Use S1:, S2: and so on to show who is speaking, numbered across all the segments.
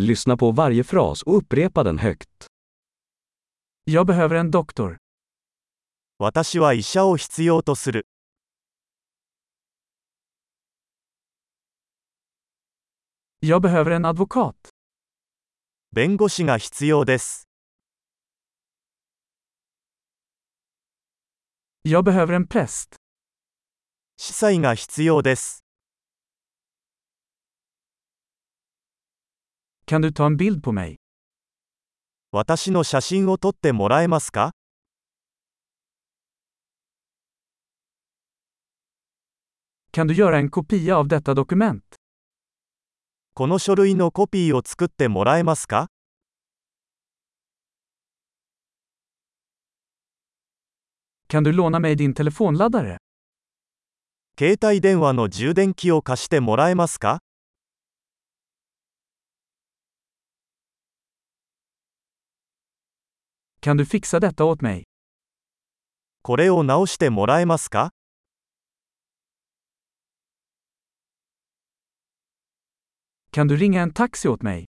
S1: Lyssna på varje fras och upprepa den högt.
S2: Jag behöver en doktor.
S3: 私は医者を必要とする。
S2: Jag behöver en advokat.
S3: 弁護士が必要です。
S2: Jag behöver en präst.
S3: 司祭が必要です。
S2: Kan du ta en bild på mig?
S3: 私の写真を撮ってもらえますか
S2: Kan du göra en kopia av detta dokument?
S3: この書類のコピーを作ってもらえますか
S2: Kan du låna mig din telefonladdare?
S3: 携帯電話の充電器を貸してもらえますか
S2: Kan du fixa detta åt mig?
S3: これを直してもらえますか
S2: Kan du ringa en taxi åt mig?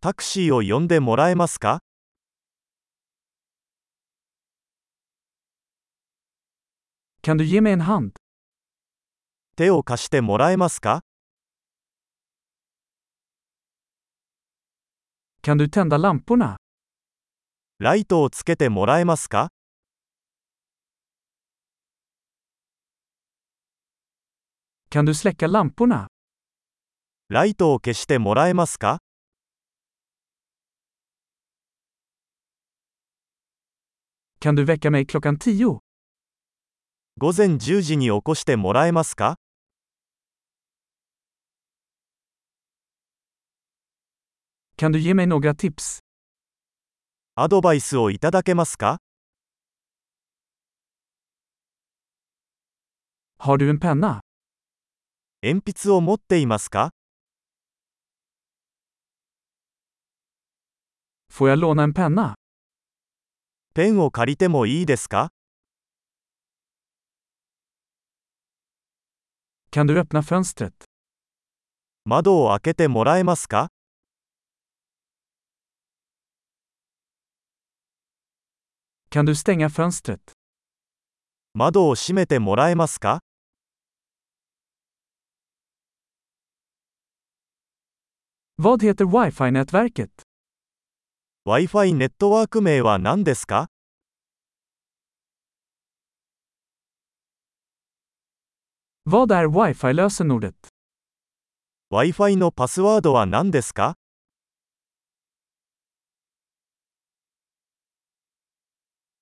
S3: タクシーを呼んでもらえますか
S2: Kan du ge mig en hand?
S3: 手を貸してもらえますか
S2: Kan du tända lamporna?
S3: ライトをつけてもらえますか
S2: Kan du släcka lamporna?
S3: ライトを消してもらえますか
S2: Kan du väcka mig klockan tio?
S3: 午前10時に起こしてもらえますか
S2: Kan du ge mig några tips?
S3: アドバイスをいただけますか
S2: Har du en penna?
S3: 鉛筆を持っていますか
S2: Får jag låna en penna?
S3: ペンを借りてもいいですか
S2: Kan du öppna fönstret?
S3: 窓を開けてもらえますか
S2: Kan du stänga fönstret?
S3: 窓を閉めてもらえますか
S2: Vad heter wifi-nätverket?
S3: Wi-Fi ネットワーク名は何ですか
S2: Vad är wifi-lösenordet?
S3: Wi-Fi のパスワードは何ですか